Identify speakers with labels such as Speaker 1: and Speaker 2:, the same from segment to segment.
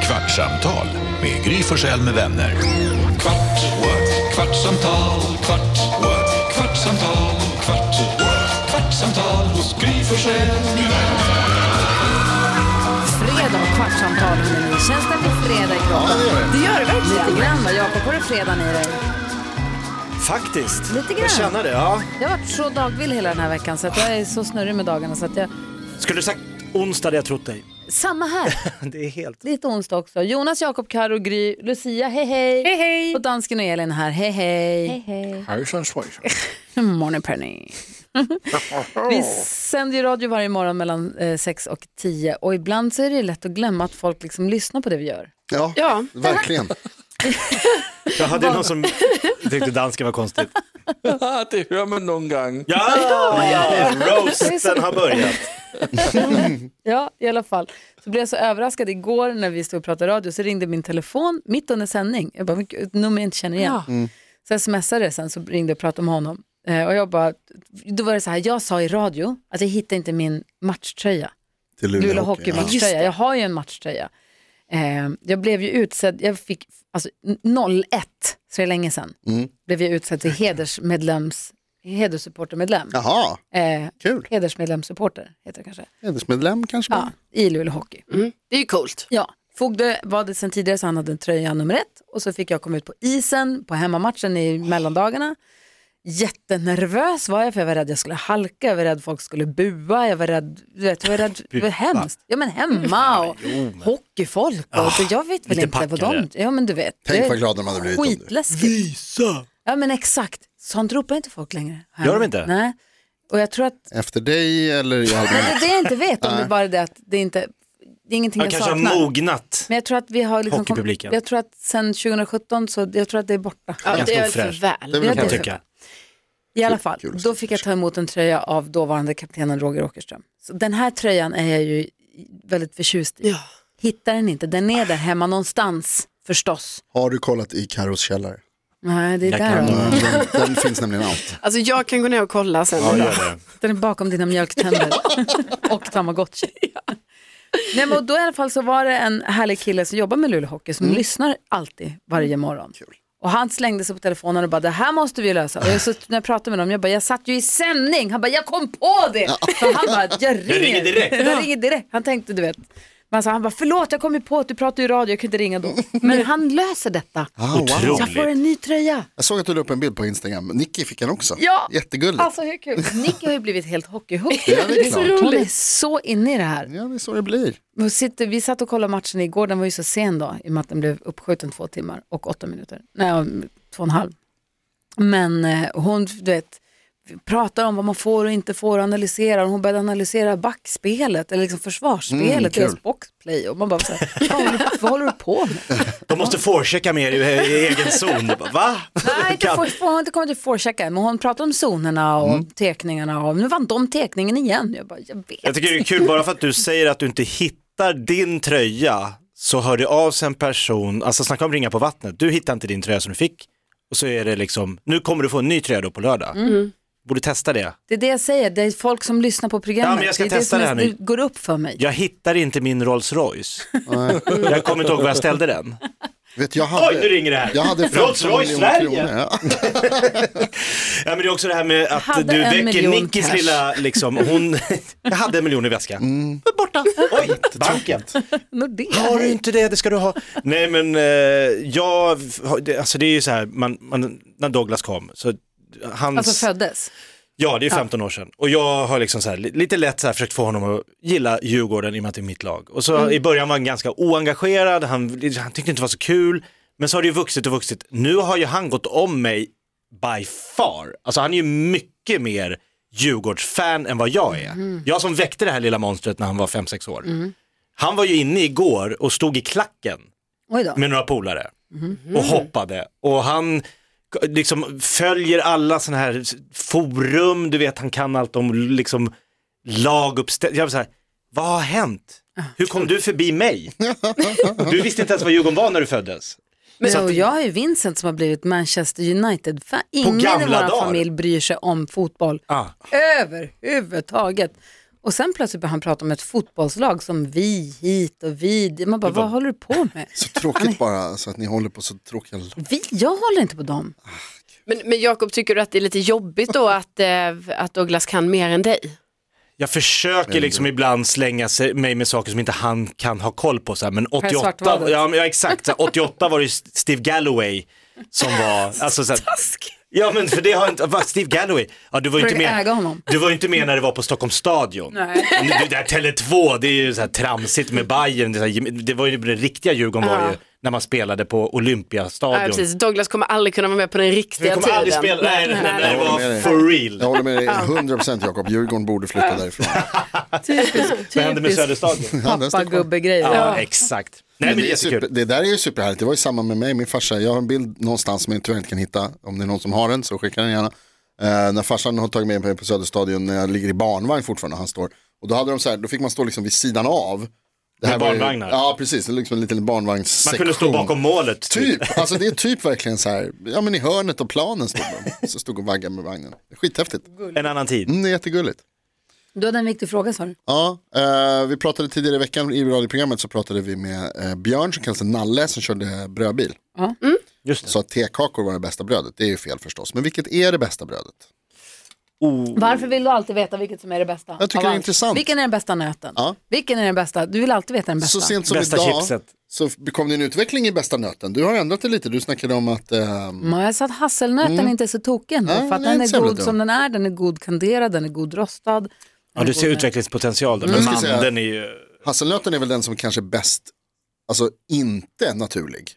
Speaker 1: Kvartsamtal med Gry Forssell med vänner. Kvart, what? kvartsamtal, kvart, what? kvartsamtal, kvart, what? kvartsamtal hos Gry Forssell med vänner.
Speaker 2: Fredag och kvartsamtal med mig. Känns det att det är fredag idag? Ja, det gör det. gör det verkligen. Lite grann va? Jakob, har du fredagen i dig?
Speaker 3: Faktiskt.
Speaker 2: Lite grann.
Speaker 3: Jag känner det, ja.
Speaker 2: Jag har varit så dagvill hela den här veckan så att jag är så snurrig med dagarna så att jag...
Speaker 3: Skulle du sagt onsdag hade jag trott dig.
Speaker 2: Samma här.
Speaker 3: Det är helt...
Speaker 2: Lite onsdag också. Jonas, Jakob, Karo, Gry, Lucia, hej hej. Hej hej. Och dansken och Elin här, hej hej. Hej hej.
Speaker 3: Hejsan svejsan.
Speaker 2: Morning Penny. Vi sänder ju radio varje morgon mellan 6 och 10 och ibland så är det ju lätt att glömma att folk liksom lyssnar på det vi gör.
Speaker 4: Ja, verkligen.
Speaker 3: Jag hade någon som tyckte dansken var konstigt.
Speaker 5: Ja, det hör man någon gång.
Speaker 3: Ja, roasten har börjat.
Speaker 2: Ja, i alla fall. Så blev jag så överraskad igår när vi stod och pratade radio så ringde min telefon mitt under sändning. Jag bara, vilket- ett nummer jag inte känner igen. Så jag smsade det sen så ringde jag och pratade om honom. Eh, och jag bara, då var det så här, jag sa i radio att jag hittade inte min matchtröja.
Speaker 4: Till
Speaker 2: Luleå hockeymatchtröja. Jag har ju en matchtröja. Eh, jag blev ju utsedd, jag fick, alltså 01, så det är länge sedan, blev jag utsedd till hedersmedlems, hederssupportermedlem.
Speaker 4: Jaha,
Speaker 2: Eh,
Speaker 4: kul.
Speaker 2: hedersmedlemssupporter heter det kanske.
Speaker 4: Hedersmedlem kanske?
Speaker 2: Ja,
Speaker 4: Ja.
Speaker 2: i Luleå Hockey.
Speaker 6: Mm. Det är ju coolt.
Speaker 2: Ja, Fogde var det sen tidigare så han hade en tröja nummer ett och så fick jag komma ut på isen på hemmamatchen i mellandagarna. Jättenervös var jag för jag var rädd jag skulle halka, jag var rädd folk skulle bua, jag var rädd, du vet, jag var rädd, det var hemskt. Ja men hemma och hockeyfolk och så jag vet väl
Speaker 3: lite
Speaker 2: inte vad
Speaker 3: packare.
Speaker 2: de, ja men du vet.
Speaker 4: Tänk
Speaker 2: det är
Speaker 4: vad glad de hade blivit om du-
Speaker 2: Skitläskigt. Ja men exakt, sånt ropar inte folk längre.
Speaker 3: Gör de inte?
Speaker 2: Nej, och jag tror att
Speaker 4: Efter dig eller i allmänhet?
Speaker 2: det jag inte vet om det bara är det att det inte, det är ingenting
Speaker 3: Han
Speaker 2: jag
Speaker 3: kanske har
Speaker 2: saknar.
Speaker 3: mognat.
Speaker 2: Men jag tror att vi har liksom
Speaker 3: Hockeypubliken.
Speaker 2: jag tror att sen 2017 så, jag tror att det är borta.
Speaker 6: Ja,
Speaker 3: Ganska
Speaker 6: det är för
Speaker 3: ofräscht.
Speaker 6: väl.
Speaker 4: Det är väl
Speaker 2: Jag
Speaker 3: Kan jag
Speaker 4: okej.
Speaker 3: tycka.
Speaker 2: I alla fall,
Speaker 4: kul att
Speaker 2: då
Speaker 4: se.
Speaker 2: fick jag ta emot en tröja av dåvarande kaptenen Roger Åkerström. Så den här tröjan är jag ju väldigt förtjust i.
Speaker 6: Ja.
Speaker 2: Hittar den inte, den är där hemma någonstans förstås.
Speaker 4: Har du kollat i Karos källare?
Speaker 2: Nej, det är
Speaker 3: Jag
Speaker 2: där
Speaker 3: kan
Speaker 2: då.
Speaker 4: Den, den finns nämligen allt.
Speaker 6: Alltså jag kan gå ner och kolla sen.
Speaker 3: Ja, gör det.
Speaker 2: Den är bakom dina mjölktänder och tamagotchi. Nej, men då i alla fall så var det en härlig kille som jobbar med Luleå Hockey som lyssnar alltid varje morgon. Och han slängde sig på telefonen och bara, det här måste vi lösa. Och jag, så, när jag pratade med dem, jag bara, jag satt ju i sändning. Han bara, jag kom på det. Så han bara, jag ringer.
Speaker 3: ringer direkt.
Speaker 2: Jag ringer direkt. Han tänkte, du vet. Men alltså, han bara, förlåt, jag kom ju på att du pratade i radio, jag kunde inte ringa då. Men han löser detta.
Speaker 4: Ah, wow.
Speaker 3: Otroligt.
Speaker 2: Jag får en ny tröja.
Speaker 4: Jag såg att du la upp en bild på Instagram. Nicky fick den också.
Speaker 2: Ja.
Speaker 4: Jättegulligt.
Speaker 2: Alltså hur kul. Nicky har ju blivit helt hockeyhook.
Speaker 4: Ja, det är klart.
Speaker 2: Hon är så inne i det här.
Speaker 4: Ja, det är så det blir.
Speaker 2: Vi, sitter, vi satt och kollade matchen igår, den var ju så sen då, i och med att den blev uppskjuten två timmar och åtta minuter. Nej, två och en halv. Men eh, hon, du vet, pratar om vad man får och inte får och analyserar. Och Hon började analysera backspelet, eller liksom försvarsspelet,
Speaker 4: Mm, kul.
Speaker 2: deras boxplay. Och man bara, så här, vad, håller, vad håller du på med?
Speaker 3: De måste forechecka mer i, i egen zon. Det bara, Va?
Speaker 2: Nej, inte får, får, hon har inte kommit till forechecken, men hon pratar om zonerna och
Speaker 4: Mm.
Speaker 2: tekningarna. Och nu vann de tekningen igen. Jag bara, jag vet.
Speaker 3: Jag tycker det är kul, bara för att du säger att du inte hittar din tröja så hör det av sig en person, alltså snacka om ringa på vattnet, du hittar inte din tröja som du fick och så är det liksom, nu kommer du få en ny tröja då på lördag.
Speaker 2: Mm.
Speaker 3: Borde testa det.
Speaker 2: Det är det jag säger, det är folk som lyssnar på programmet.
Speaker 3: Ja, men jag ska
Speaker 2: det är det
Speaker 3: testa
Speaker 2: som
Speaker 3: det
Speaker 2: är-
Speaker 3: här nu.
Speaker 2: det går upp för mig.
Speaker 3: Jag hittar inte min Rolls Royce. jag kommer inte ihåg var jag ställde den.
Speaker 4: Vet, jag hade,
Speaker 3: Oj, nu ringer det här.
Speaker 4: Jag hade
Speaker 3: Rolls
Speaker 4: 15
Speaker 3: Royce
Speaker 4: miljoner
Speaker 3: Sverige.
Speaker 4: kronor. Ja.
Speaker 3: Ja, men det är också det här med
Speaker 2: hade
Speaker 3: att du
Speaker 2: en
Speaker 3: väcker
Speaker 2: miljon
Speaker 3: Nickis
Speaker 2: cash.
Speaker 3: lilla, liksom, hon, jag hade en miljon i väskan.
Speaker 4: Mm.
Speaker 3: Borta. Oj, banken.
Speaker 2: Nordea.
Speaker 3: Har du inte det, det ska du ha. Nej men eh, jag, det- alltså det är ju så här, man, man, när Douglas kom, så hans,
Speaker 2: Alltså föddes.
Speaker 3: ja det är 15 år sedan, och jag har liksom så här, li- lite lätt så här försökt få honom att gilla Djurgården i och med att det är mitt lag. Och så i början var han ganska oengagerad, han, han tyckte inte det var så kul, men så har det ju vuxit och vuxit. Nu har ju han gått om mig by far, alltså han är ju mycket mer Djurgårdsfan än vad jag är. Jag som väckte det här lilla monstret när han var 5-6 år. Han var ju inne igår och stod i klacken
Speaker 2: Oj då.
Speaker 3: med några polare och hoppade. Och han liksom följer alla sådana här forum, du vet han kan allt om liksom laguppställning. Jag var så här, vad har hänt? Hur kom du förbi mig? Du visste inte ens vad Djurgården var när du föddes.
Speaker 2: Men, och jag är ju Vincent som har blivit Manchester United. Fan, ingen i
Speaker 3: gamla
Speaker 2: vår
Speaker 3: dagar.
Speaker 2: familj bryr sig om fotboll
Speaker 3: Ah.
Speaker 2: överhuvudtaget. Och sen plötsligt började han prata om ett fotbollslag som vi hit och vi. dit. Man bara, vad håller du på med?
Speaker 4: Så tråkigt bara alltså, att ni håller på så tråkiga lag.
Speaker 2: Vi, jag håller inte på dem.
Speaker 6: Men, men Jakob, tycker du att det är lite jobbigt då att, eh, att Douglas kan mer än dig?
Speaker 3: Jag försöker liksom ibland slänga sig, mig med saker som inte han kan ha koll på. Så här, men 88,
Speaker 2: Svartvadet.
Speaker 3: ja, men- ja, exakt, så här, 88 var det ju Steve Galloway som var, alltså så här, Ja men för det har inte, va, Steve Galloway, ja, du var ju inte
Speaker 2: Försöker äga
Speaker 3: med,
Speaker 2: honom.
Speaker 3: du var ju inte med när det var på Stockholms stadion.
Speaker 2: Nej.
Speaker 3: Men Det, det där Tele2, det är ju så här tramsigt med Bayern det, är så här, det var ju det riktiga Djurgården var ju när man spelade på
Speaker 6: Ja,
Speaker 3: Olympiastadion.
Speaker 6: precis. Douglas kommer aldrig kunna vara med på den
Speaker 3: vi
Speaker 6: riktiga
Speaker 3: kommer aldrig
Speaker 6: tiden.
Speaker 3: spela, nej, nej, nej, nej, det
Speaker 4: Jag håller med
Speaker 3: var
Speaker 4: dig.
Speaker 3: for real.
Speaker 4: Jag håller med dig 100% Jakob, Djurgården borde flytta därifrån.
Speaker 2: Typiskt,
Speaker 3: Vad hände med
Speaker 2: typiskt
Speaker 3: Söderstadion?
Speaker 4: Ja, den står kvar.
Speaker 2: pappagubbe-grejer.
Speaker 3: Ja, exakt. Nej men,
Speaker 4: Men det, är
Speaker 3: jättekul.
Speaker 4: super, det där är ju superhärligt, det var ju samma med mig, min farsa, jag har en bild någonstans som jag tyvärr inte kan hitta, om det är någon som har den så skicka den gärna. Eh, när farsan har tagit med mig på Söderstadion när jag ligger i barnvagn fortfarande, han står, och då hade de så här, då fick man stå liksom vid sidan av. Det
Speaker 3: Med
Speaker 4: var ju-
Speaker 3: barnvagnar?
Speaker 4: Ja, precis, det är liksom en liten barnvagnssektion.
Speaker 3: Man kunde stå bakom målet.
Speaker 4: Typ, alltså det är typ verkligen så här, ja men i hörnet av planen stod de, så stod och vaggade med vagnen. Skithäftigt,
Speaker 3: En annan tid.
Speaker 4: mm, det är jättegulligt.
Speaker 2: Du hade en viktig fråga sa du.
Speaker 4: Ja, eh, vi pratade tidigare i veckan i radioprogrammet så pratade vi med eh, Björn som kallas för Nalle som körde brödbil.
Speaker 3: Just det.
Speaker 4: Så att tekakor var det bästa brödet, det är ju fel förstås. Men vilket är det bästa brödet?
Speaker 2: Varför vill du alltid veta vilket som är det bästa?
Speaker 4: Jag tycker
Speaker 2: av
Speaker 4: det är
Speaker 2: allt?
Speaker 4: intressant.
Speaker 2: Vilken är den bästa nöten?
Speaker 4: Ja.
Speaker 2: Vilken är den bästa? Du vill alltid veta den bästa.
Speaker 4: Så sent som
Speaker 3: Bästa
Speaker 4: idag
Speaker 3: chipset.
Speaker 4: så kom det en utveckling i bästa nöten. Du har ändrat dig lite, du snackade om att eh,
Speaker 2: Mm, Jag sa att hasselnöten inte är så tokig ändå,
Speaker 4: Mm. Nej,
Speaker 2: för att
Speaker 4: den är
Speaker 2: den är
Speaker 4: inte så jävla
Speaker 2: god
Speaker 4: dum.
Speaker 2: som den är, den är god kanderad, den är god rostad. den
Speaker 3: Ja,
Speaker 2: är
Speaker 3: du
Speaker 2: god
Speaker 3: ser
Speaker 2: med-
Speaker 3: utvecklingspotential där. Men
Speaker 4: Mm. Jag skulle
Speaker 3: mandeln är ju...
Speaker 4: hasselnöten är väl den som kanske är bäst, alltså inte naturlig.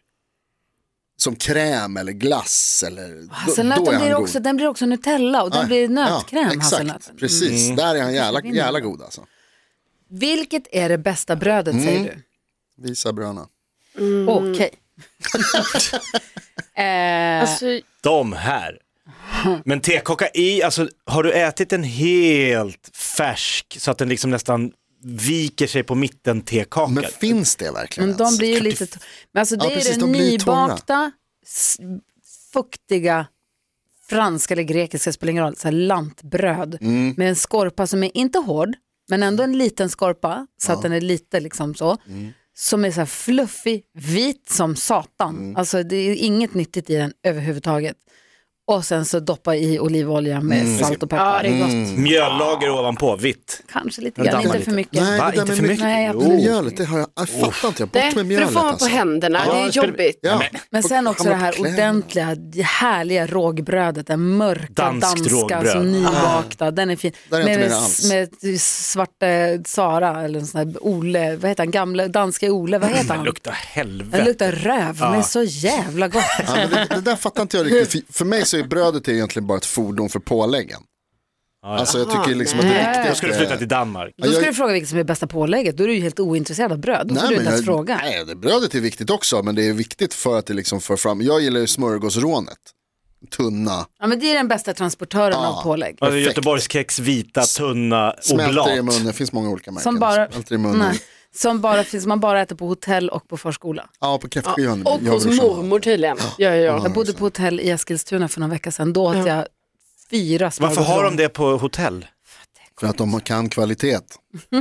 Speaker 4: Som kräm eller glass eller då- då är
Speaker 2: Hasselnöten
Speaker 4: han
Speaker 2: blir
Speaker 4: god.
Speaker 2: också, den blir också Nutella och den
Speaker 4: Ah,
Speaker 2: blir
Speaker 4: ja,
Speaker 2: nötkräm,
Speaker 4: exakt.
Speaker 2: hasselnöten. Mm.
Speaker 4: Precis, där är han jävla, jävla god alltså.
Speaker 2: Vilket är det bästa brödet säger
Speaker 4: Mm.
Speaker 2: du?
Speaker 4: Visa bröna.
Speaker 2: Okej.
Speaker 4: Mm.
Speaker 2: eh,
Speaker 3: De här. Men tekaka i, alltså har du ätit en helt färsk så att den liksom nästan viker sig på mitten tekaka?
Speaker 4: Men finns alltså, det verkligen
Speaker 2: men de
Speaker 4: ens?
Speaker 2: blir ju lite... to- Men alltså det
Speaker 4: Ja,
Speaker 2: är
Speaker 4: precis,
Speaker 2: det
Speaker 4: de blir ju torra.
Speaker 2: nybakta, s- fuktiga, franska eller grekiska, spelar ingen roll, så här lantbröd
Speaker 4: Mm.
Speaker 2: med en skorpa som är inte hård, men ändå en liten skorpa, så att den är lite liksom så.
Speaker 4: Mm.
Speaker 2: Som är så här fluffig, vit som satan.
Speaker 4: Mm.
Speaker 2: Alltså det är inget nyttigt i den överhuvudtaget. Och sen så doppa i olivolja med
Speaker 4: Mm.
Speaker 2: salt och peppar.
Speaker 6: Ja, det är gott.
Speaker 3: Mm. Mjöllager ovanpå, vitt.
Speaker 2: Kanske lite
Speaker 3: Den
Speaker 2: grann,
Speaker 3: dammar
Speaker 2: inte
Speaker 3: lite.
Speaker 2: för mycket.
Speaker 4: Nej,
Speaker 3: Va?
Speaker 4: det där
Speaker 3: Inte
Speaker 4: med
Speaker 3: för mycket?
Speaker 2: Nej,
Speaker 3: Jo.
Speaker 2: absolut.
Speaker 4: Men mjölet, det har jag, jag fattar inte, jag
Speaker 6: Nej,
Speaker 4: bort
Speaker 6: för
Speaker 4: med mjölet
Speaker 6: då får man på
Speaker 4: alltså.
Speaker 6: händerna,
Speaker 3: Ja,
Speaker 6: det är
Speaker 3: det spelar-
Speaker 6: jobbigt.
Speaker 4: Ja.
Speaker 3: Nej, men-
Speaker 2: Men sen också det
Speaker 4: hamnar på
Speaker 2: här
Speaker 4: kläderna.
Speaker 2: ordentliga, härliga rågbrödet, den mörka
Speaker 3: Danskt
Speaker 2: danska
Speaker 3: rågbröd.
Speaker 2: som nybakta, den är fin.
Speaker 4: Där är jag inte
Speaker 2: med,
Speaker 4: med alls.
Speaker 2: med svarte Sara eller en sån här Ole, vad heter han, gamla danska Ole, vad heter han?
Speaker 3: Luktar helvete.
Speaker 2: Den luktar röv, men är så jävla gott.
Speaker 4: Ja, men det, det där fattar inte jag riktigt. För, för mig så är brödet är egentligen bara ett fordon för påläggen. Alltså jag tycker liksom att det är riktigt.
Speaker 3: Jag skulle flytta till Danmark.
Speaker 2: Då
Speaker 4: jag-
Speaker 2: skulle du fråga vilket som är bästa pålägget, då är du ju helt ointresserad av bröd. Då får du inte ens
Speaker 4: jag,
Speaker 2: fråga.
Speaker 4: nej, det, brödet är viktigt också, men det är viktigt för att det liksom för fram. Jag gillar ju smörgåsrånet. Tunna,
Speaker 2: Ja, men det är den bästa transportören av pålägg.
Speaker 3: Alltså,
Speaker 4: Perfekt.
Speaker 3: Göteborgskex, vita, tunna, oblat.
Speaker 4: smälter i munnen, det finns många olika märken.
Speaker 2: Som bara,
Speaker 4: Smälter i munnen.
Speaker 2: nej, som bara finns, man bara äter på hotell och på förskola.
Speaker 4: Ja, på kräftskivan.
Speaker 6: Och
Speaker 4: jag och
Speaker 6: hos
Speaker 4: brorsan.
Speaker 6: mormor tydligen. Ja, ja, ja.
Speaker 2: Jag bodde på hotell i Eskilstuna för några veckor sedan. Då åt jag fyra
Speaker 3: Varför har de
Speaker 2: smörgåsrån.
Speaker 3: det på hotell?
Speaker 4: För att de kan kvalitet.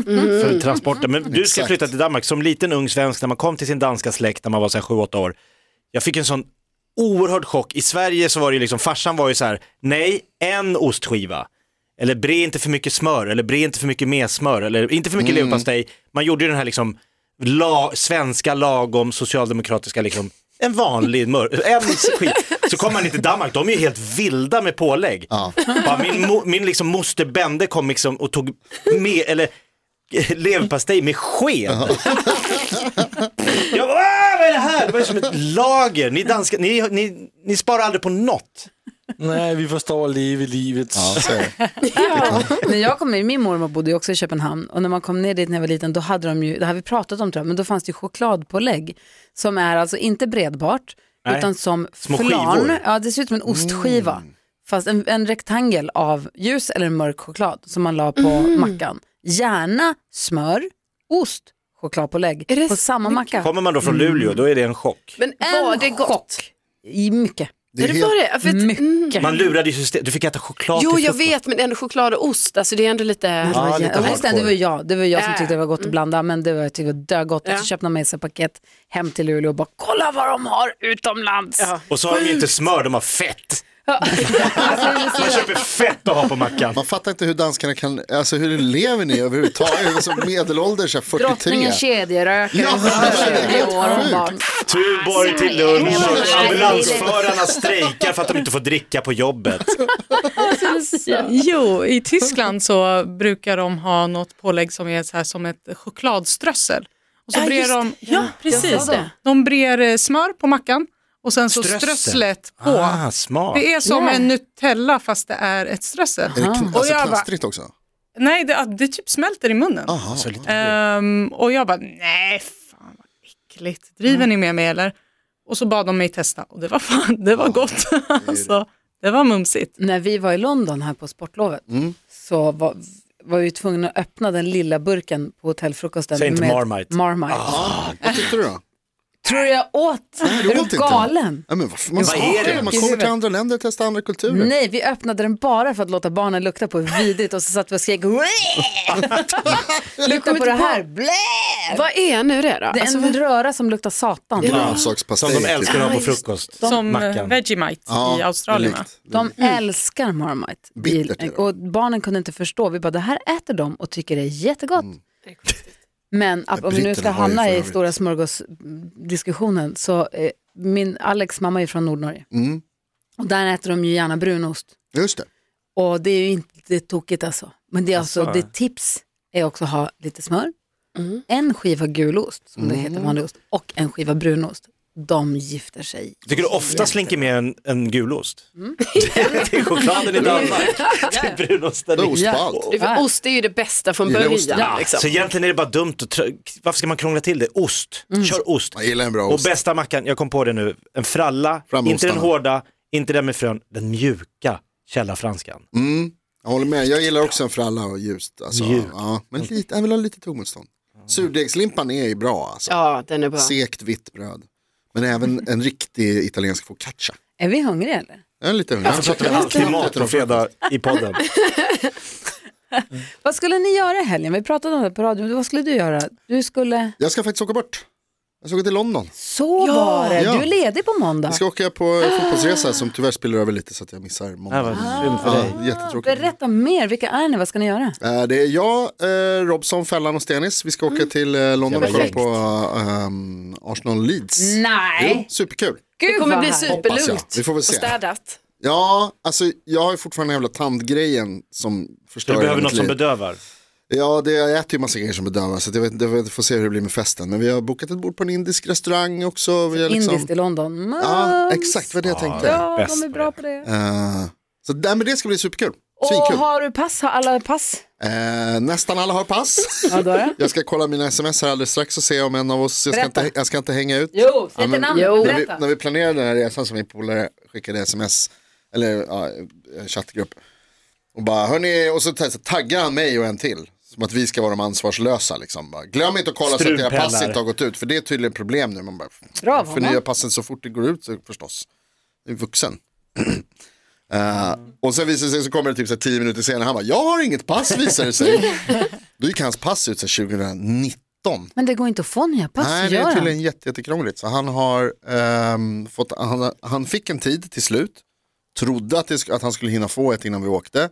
Speaker 3: för transporten. Men du ska
Speaker 4: Exakt.
Speaker 3: flytta till Danmark. Som liten ung svensk, när man kom till sin danska släkt när man var 7-8 år, jag fick en sån oerhörd chock. I Sverige så var det ju liksom, farsan var ju så här, nej, en ostskiva. Eller bre inte för mycket smör, eller bre inte för mycket messmör, eller inte för mycket leverpastej. Man gjorde ju den här liksom, la, svenska lagom socialdemokratiska liksom, en vanlig mör, en skit. Så kom man till Danmark, de är ju helt vilda med pålägg. Bara, min mo, min liksom, moster Bende kom liksom och tog med, eller leverpastej med sked. Jag bara, "Åh, vad är det här? Det var ju som ett lager. Ni danskar, ni, ni, ni sparar aldrig på något.
Speaker 5: Nej, vi förstår att leva livet.
Speaker 4: Ja, så är det.
Speaker 2: När jag kom ner, min mormor bodde ju också i Köpenhamn och när man kom ner dit när jag var liten då hade de ju, det har vi pratat om tror jag, men då fanns det ju chokladpålägg som är alltså inte bredbart
Speaker 3: Nej.
Speaker 2: utan som
Speaker 3: Små
Speaker 2: flan.
Speaker 3: skivor. Mm.
Speaker 2: Ja, det ser ut som en ostskiva. Fast en, en rektangel av ljus eller mörk choklad som man la på
Speaker 3: Mm.
Speaker 2: mackan. Gärna smör, ost, chokladpålägg
Speaker 6: Är det
Speaker 2: på samma macka.
Speaker 3: Kommer man då från Luleå, då är det en chock.
Speaker 6: Men var det gott?
Speaker 2: chock. I mycket.
Speaker 6: Det är det var det? För att,
Speaker 2: Mycket.
Speaker 6: mm.
Speaker 3: Man lurade ju systemet, du fick äta choklad
Speaker 6: Jo,
Speaker 3: till
Speaker 6: jag
Speaker 3: frukost.
Speaker 6: vet, men ändå choklad och ost, alltså det är ändå lite...
Speaker 2: Ja,
Speaker 4: Ja, lite
Speaker 2: ja, just det, det var ju jag. Det var jag som
Speaker 6: Ja.
Speaker 2: tyckte det var gott att blanda, men det var jag tyckte det var dögott.
Speaker 6: Ja.
Speaker 2: Och så köpte man med sig ett paket hem till Luleå och bara kolla vad de har utomlands.
Speaker 6: Ja.
Speaker 3: Och så har de ju inte smör, de har fett.
Speaker 2: Alltså,
Speaker 3: Man köper fett att ha på mackan.
Speaker 4: Man fattar inte hur danskarna kan, alltså hur lever ni överhuvudtaget? Alltså, medelålders, är 43.
Speaker 2: Drottningen kedjeröker.
Speaker 4: Ja,
Speaker 2: Hon är
Speaker 4: det är
Speaker 2: 20
Speaker 4: helt
Speaker 2: år, hon bara,
Speaker 3: Tuborg till lunch,
Speaker 2: Nej.
Speaker 3: ambulansförarna strejkar för att de inte får dricka på jobbet.
Speaker 7: Jo, i Tyskland så brukar de ha något pålägg som är så här som ett chokladströssel. Och så
Speaker 6: Ja,
Speaker 7: brer
Speaker 6: just
Speaker 7: de,
Speaker 6: det. Ja, jag
Speaker 7: precis.
Speaker 6: sa det.
Speaker 7: De brer eh, smör på mackan och sen så
Speaker 3: Strössel.
Speaker 7: strösslet på.
Speaker 3: Ah, smart.
Speaker 7: Det är som
Speaker 2: Yeah.
Speaker 7: en Nutella fast det är ett strössel.
Speaker 4: Är det kn-
Speaker 7: Och
Speaker 4: alltså,
Speaker 7: jag bara-
Speaker 4: knastrigt också? Alltså,
Speaker 7: Nej, det, det typ smälter i munnen.
Speaker 3: Ah,
Speaker 4: Aha.
Speaker 7: Ehm, och jag bara, nej fan vad äckligt, driver ni med mig eller? Och så bad de mig testa och det var fan, det var gott. alltså, det var mumsigt.
Speaker 2: när vi var i London här på sportlovet
Speaker 4: Mm.
Speaker 2: så var, var vi tvungna att öppna den lilla burken på hotellfrukosten
Speaker 3: Säg inte
Speaker 2: med
Speaker 3: Marmite.
Speaker 2: Marmite.
Speaker 3: Ah,
Speaker 4: Vad tyckte du då?
Speaker 2: Tror jag åt?
Speaker 4: du åt
Speaker 2: är
Speaker 4: inte.
Speaker 2: du galen?
Speaker 4: Ja, men vad fan, man,
Speaker 3: Vad är det?
Speaker 4: man kommer till andra länder och testar andra kulturer.
Speaker 2: Nej, vi öppnade den bara för att låta barnen lukta på hur vidrigt och så satt vi och skrek "Blä!" Lukta på det här, blä!
Speaker 6: Vad är nu det då?
Speaker 2: Det är
Speaker 6: Alltså,
Speaker 2: en
Speaker 6: vad-
Speaker 2: röra som luktar satan.
Speaker 4: Grönsakspastej.
Speaker 3: Som de älskar att ha på frukost.
Speaker 7: Som eh,
Speaker 3: Mackan.
Speaker 7: Vegemite i Australien. va?
Speaker 2: De älskar Marmite.
Speaker 4: Mm. Bittert är det.
Speaker 2: och barnen kunde inte förstå. Vi bara, det här äter de och tycker det är jättegott. Men att, om vi nu ska
Speaker 4: Mm. britterna har ju för
Speaker 2: hamna i
Speaker 4: övrigt-
Speaker 2: stora smörgåsdiskussionen så eh, min Alex mamma är från Nordnorge. Och där äter de ju gärna brunost.
Speaker 4: Mm. Just det.
Speaker 2: Och det är ju inte tokigt alltså. Men det är alltså, det tips är också att ha lite smör, en skiva gulost, som det
Speaker 4: Mm.
Speaker 2: heter vanlig ost, och en skiva brunost. De gifter sig.
Speaker 3: Tycker du ofta slinker med en, en gulost? till chokladen i Danmark, till brunosten.
Speaker 4: Det är
Speaker 3: i-
Speaker 4: ost på allt.
Speaker 6: Det är för Ost är ju det bästa från
Speaker 4: Gillar
Speaker 6: början.
Speaker 4: osten. Ja.
Speaker 6: Liksom.
Speaker 3: Så egentligen är det bara dumt att, trö- varför ska man krångla till det? Ost, kör ost.
Speaker 4: Jag gillar en bra
Speaker 3: Och
Speaker 4: ost.
Speaker 3: bästa mackan, jag kom på det nu, en fralla,
Speaker 4: Fram med
Speaker 3: inte den
Speaker 4: ostarna.
Speaker 3: hårda, inte den med frön, den mjuka källarfranskan.
Speaker 4: Mm. Jag håller med, jag gillar också en fralla och ljust. Alltså, ja, men lite, jag vill ha lite tuggmotstånd. Surdegslimpan är ju bra alltså.
Speaker 6: Ja, den är bra.
Speaker 4: Sekt vitt bröd. Men även en riktig italiensk focaccia.
Speaker 2: Är vi hungriga eller?
Speaker 4: Jag är lite hungrig. Jag
Speaker 3: Pratar vi
Speaker 4: Mm.
Speaker 3: alltid mat på fredag i
Speaker 4: Ah.
Speaker 3: podden.
Speaker 2: Vad skulle ni göra i helgen? Vi pratade om det på radion. Vad skulle du göra? Du skulle...
Speaker 4: Jag ska faktiskt åka bort. Jag ska åka till London.
Speaker 2: Så var det.
Speaker 4: Ja.
Speaker 2: Du är ledig på måndag.
Speaker 4: Jag ska åka på eh, fotbollsresa som tyvärr spiller över lite så att jag missar måndag.
Speaker 3: Det var synd för dig.
Speaker 4: Ja, jättetråkigt.
Speaker 2: Berätta mer. Vilka är ni? Vad ska ni göra?
Speaker 4: Eh, Det är jag, eh, Robson, Fällan och Stenis. Vi ska
Speaker 2: Mm.
Speaker 4: åka till eh, London och kolla på ehm, Arsenal Leeds. Jo,
Speaker 2: Nej.
Speaker 4: superkul.
Speaker 2: Gud,
Speaker 6: Det kommer
Speaker 2: vad
Speaker 6: bli
Speaker 2: härligt.
Speaker 4: Hoppas
Speaker 6: superlugnt
Speaker 4: jag. Vi får väl
Speaker 6: och
Speaker 4: se.
Speaker 6: städat.
Speaker 4: Ja, alltså jag har ju fortfarande den jävla tandgrejen som
Speaker 3: Så
Speaker 4: förstör
Speaker 3: du behöver
Speaker 4: hela mitt
Speaker 3: något som
Speaker 4: liv.
Speaker 3: bedövar.
Speaker 4: Ja, det, jag äter ju massa grejer som bedövar så det, vet, det, vet- får se hur det blir med festen. Men vi har bokat ett bord på en indisk restaurang också. Vi har liksom...
Speaker 2: Indiskt i London.
Speaker 4: Ja, exakt vad det jag tänkte.
Speaker 2: Ja,
Speaker 3: Bäst
Speaker 2: de är
Speaker 3: på
Speaker 2: bra på det.
Speaker 4: Eh, så där, men det ska bli superkul.
Speaker 2: Och
Speaker 4: Svinkul.
Speaker 2: har du pass? Har alla pass?
Speaker 4: Eh, nästan alla har pass.
Speaker 2: Ja, då är det.
Speaker 4: Jag ska kolla mina sms här alldeles strax och se om en av oss, jag ska,
Speaker 2: Berätta.
Speaker 4: inte, jag ska inte hänga ut.
Speaker 2: Jo, säg
Speaker 4: Ja,
Speaker 2: inte
Speaker 4: men-
Speaker 2: namnet,
Speaker 6: Jo.
Speaker 4: när, vi,
Speaker 2: berätta.
Speaker 4: när vi planerade den här resan som min polare skickade sms, eller ja, en chattgrupp. Och bara, hörni, och så ta- så taggade han mig och en till. Som att vi ska vara de ansvarslösa liksom. Bara, Glöm inte att kolla så att era pass
Speaker 3: Strulpellar.
Speaker 4: inte har gått ut, för det är tydligen ett problem nu. Man bara,
Speaker 2: Bra,
Speaker 4: "Jag
Speaker 2: Hanna."
Speaker 4: förnyar passen så fort det går ut så förstås. Du är vuxen. Eh, och sen visar det sig så kommer det typ så här tio minuter senare, han bara, jag har inget pass visar det sig. Då gick hans pass ut så här 2019.
Speaker 2: Men det går inte att få nya pass,
Speaker 4: Nej, det
Speaker 2: gör
Speaker 4: är
Speaker 2: han?
Speaker 4: tydligen jätte, jättekrångligt. Så han, har, ehm, fått, han, han fick en tid till slut, trodde att, det, sk- att han skulle hinna få ett innan vi åkte.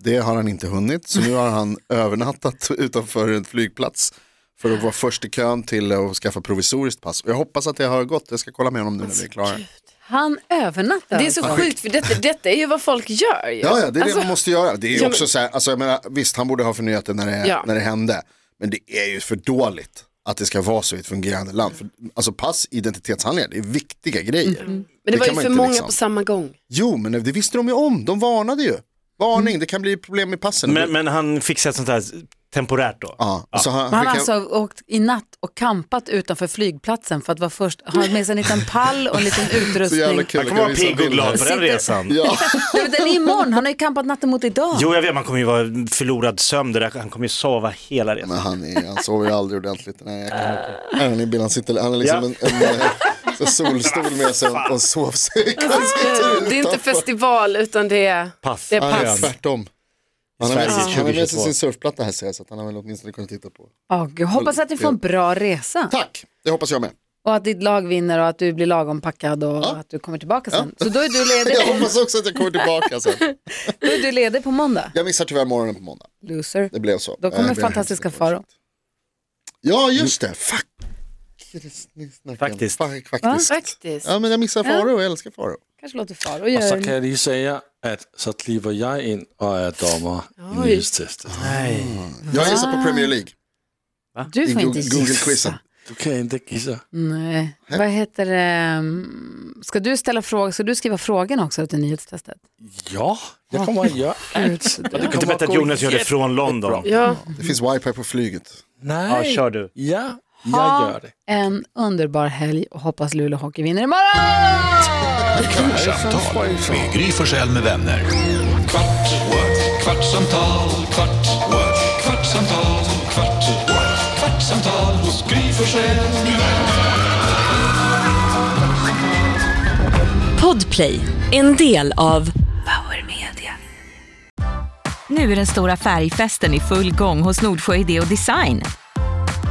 Speaker 4: Det har han inte hunnit, så nu har han övernattat utanför en flygplats för att vara först i kön till att skaffa provisoriskt pass. Och jag hoppas att det har gått, jag ska kolla med honom nu när vi är klara.
Speaker 2: Han övernattar
Speaker 6: Det är så
Speaker 2: alltså.
Speaker 6: sjukt, för detta, detta är ju vad folk gör ju.
Speaker 4: Ja, ja det är
Speaker 6: Alltså,
Speaker 4: det man måste göra. Det är ju
Speaker 6: Ja, men-
Speaker 4: också så här, alltså, jag menar, visst han borde ha förnyat det när det,
Speaker 6: Ja.
Speaker 4: när det hände, men det är ju för dåligt att det ska vara så i ett fungerande land. För, alltså pass, identitetshandlingar, det är viktiga grejer.
Speaker 6: Mm. Men det, var ju
Speaker 4: kan man
Speaker 6: för
Speaker 4: inte
Speaker 6: många
Speaker 4: liksom.
Speaker 6: på samma gång.
Speaker 4: Jo, men det visste de ju om. De varnade ju. Varning,
Speaker 6: Mm.
Speaker 4: det kan bli problem med passen.
Speaker 3: Men, men han fixar ett sånt här temporärt då.
Speaker 4: ja, och så han,
Speaker 2: Han har
Speaker 4: skickade-
Speaker 2: alltså åkt i natt och kampat utanför flygplatsen för att vara först. Han har med sig en liten pall och en liten
Speaker 4: så
Speaker 2: utrustning.
Speaker 4: jävla kul.
Speaker 3: Han kommer vara
Speaker 4: Jag kan visa
Speaker 3: pigg och
Speaker 4: bilder.
Speaker 3: glad på den
Speaker 2: Sitter-
Speaker 3: resan.
Speaker 4: Ja,
Speaker 2: Nej, men den är imorgon, han har ju kampat natten mot idag.
Speaker 3: Jo, jag vet, man kommer ju vara förlorad sömn, det där. han kommer ju sova hela resan.
Speaker 4: men han, är, han sover ju aldrig ordentligt. Nej, jag kan, han, är, han sitter, han är liksom
Speaker 3: Ja.
Speaker 4: en, en, eh, Så solstol med sig och, och sovsäck.
Speaker 6: Alltså, Det är inte festival utan det är,
Speaker 3: Pass.
Speaker 6: det är
Speaker 4: Han är
Speaker 6: pass.
Speaker 4: tvärtom. Han har med sig-
Speaker 3: Sverige
Speaker 4: han har med sig
Speaker 3: 2022.
Speaker 4: sin surfplatta här ser jag, så att han har väl åtminstone kunnat titta på.
Speaker 2: Åh, Gud. Hoppas att du får en bra resa
Speaker 4: Tack, det hoppas jag med.
Speaker 2: och att ditt lag vinner och att du blir lagom packad och att du kommer tillbaka sen. Så då är du
Speaker 4: Jag
Speaker 2: ledig,
Speaker 4: hoppas också att jag kommer tillbaka sen.
Speaker 2: då är du ledig på måndag.
Speaker 4: Jag missar tyvärr morgonen på måndag.
Speaker 2: Loser.
Speaker 4: Det blev så.
Speaker 2: Då kommer
Speaker 4: Eh, det-
Speaker 2: fantastiska Faro.
Speaker 4: Ja, just det. Fuck.
Speaker 3: Faktiskt.
Speaker 4: Fuck,
Speaker 2: Va?
Speaker 4: faktiskt.
Speaker 6: Faktiskt.
Speaker 4: Ja, men jag missar Faro och jag älskar Faro.
Speaker 2: Kanske låter Faro
Speaker 5: Og så
Speaker 2: göra
Speaker 5: kan
Speaker 2: det.
Speaker 5: jeg lige sige, at så klipper jeg ind og er dommer
Speaker 6: Oj.
Speaker 5: i nyhedstestet.
Speaker 4: Jag gissar på Premier League.
Speaker 2: Ah. Du
Speaker 4: I
Speaker 2: får inte
Speaker 4: Google-
Speaker 2: gissa.
Speaker 4: Google-quizen.
Speaker 5: Du kan ikke gisse.
Speaker 2: Nej. Vad heter det? mm, Ska du ställa frågor? Ska du skriva frågorna också till nyhetstestet?
Speaker 5: Ja, jeg kommer at gøre alt. Og det
Speaker 3: Inte
Speaker 5: kommer
Speaker 3: bättre att Jonas gör det från London.
Speaker 6: Ja,
Speaker 4: Det finns wifi på flyget.
Speaker 5: Nej.
Speaker 3: Ja, kör du.
Speaker 5: Ja, jeg
Speaker 2: Ha
Speaker 5: gør det.
Speaker 2: en underbar helg och hoppas Luleå Hockey vinner imorgon!
Speaker 1: Kvartsamtal med Gry Forssell med vänner. Kvart, what? kvartsamtal, kvart, what? kvartsamtal, kvart, what? kvartsamtal hos Gry Forssell med vänner.
Speaker 8: Podplay, en del av Power Media.
Speaker 9: Nu är den stora färgfesten i full gång hos Nordsjö Idé och Design.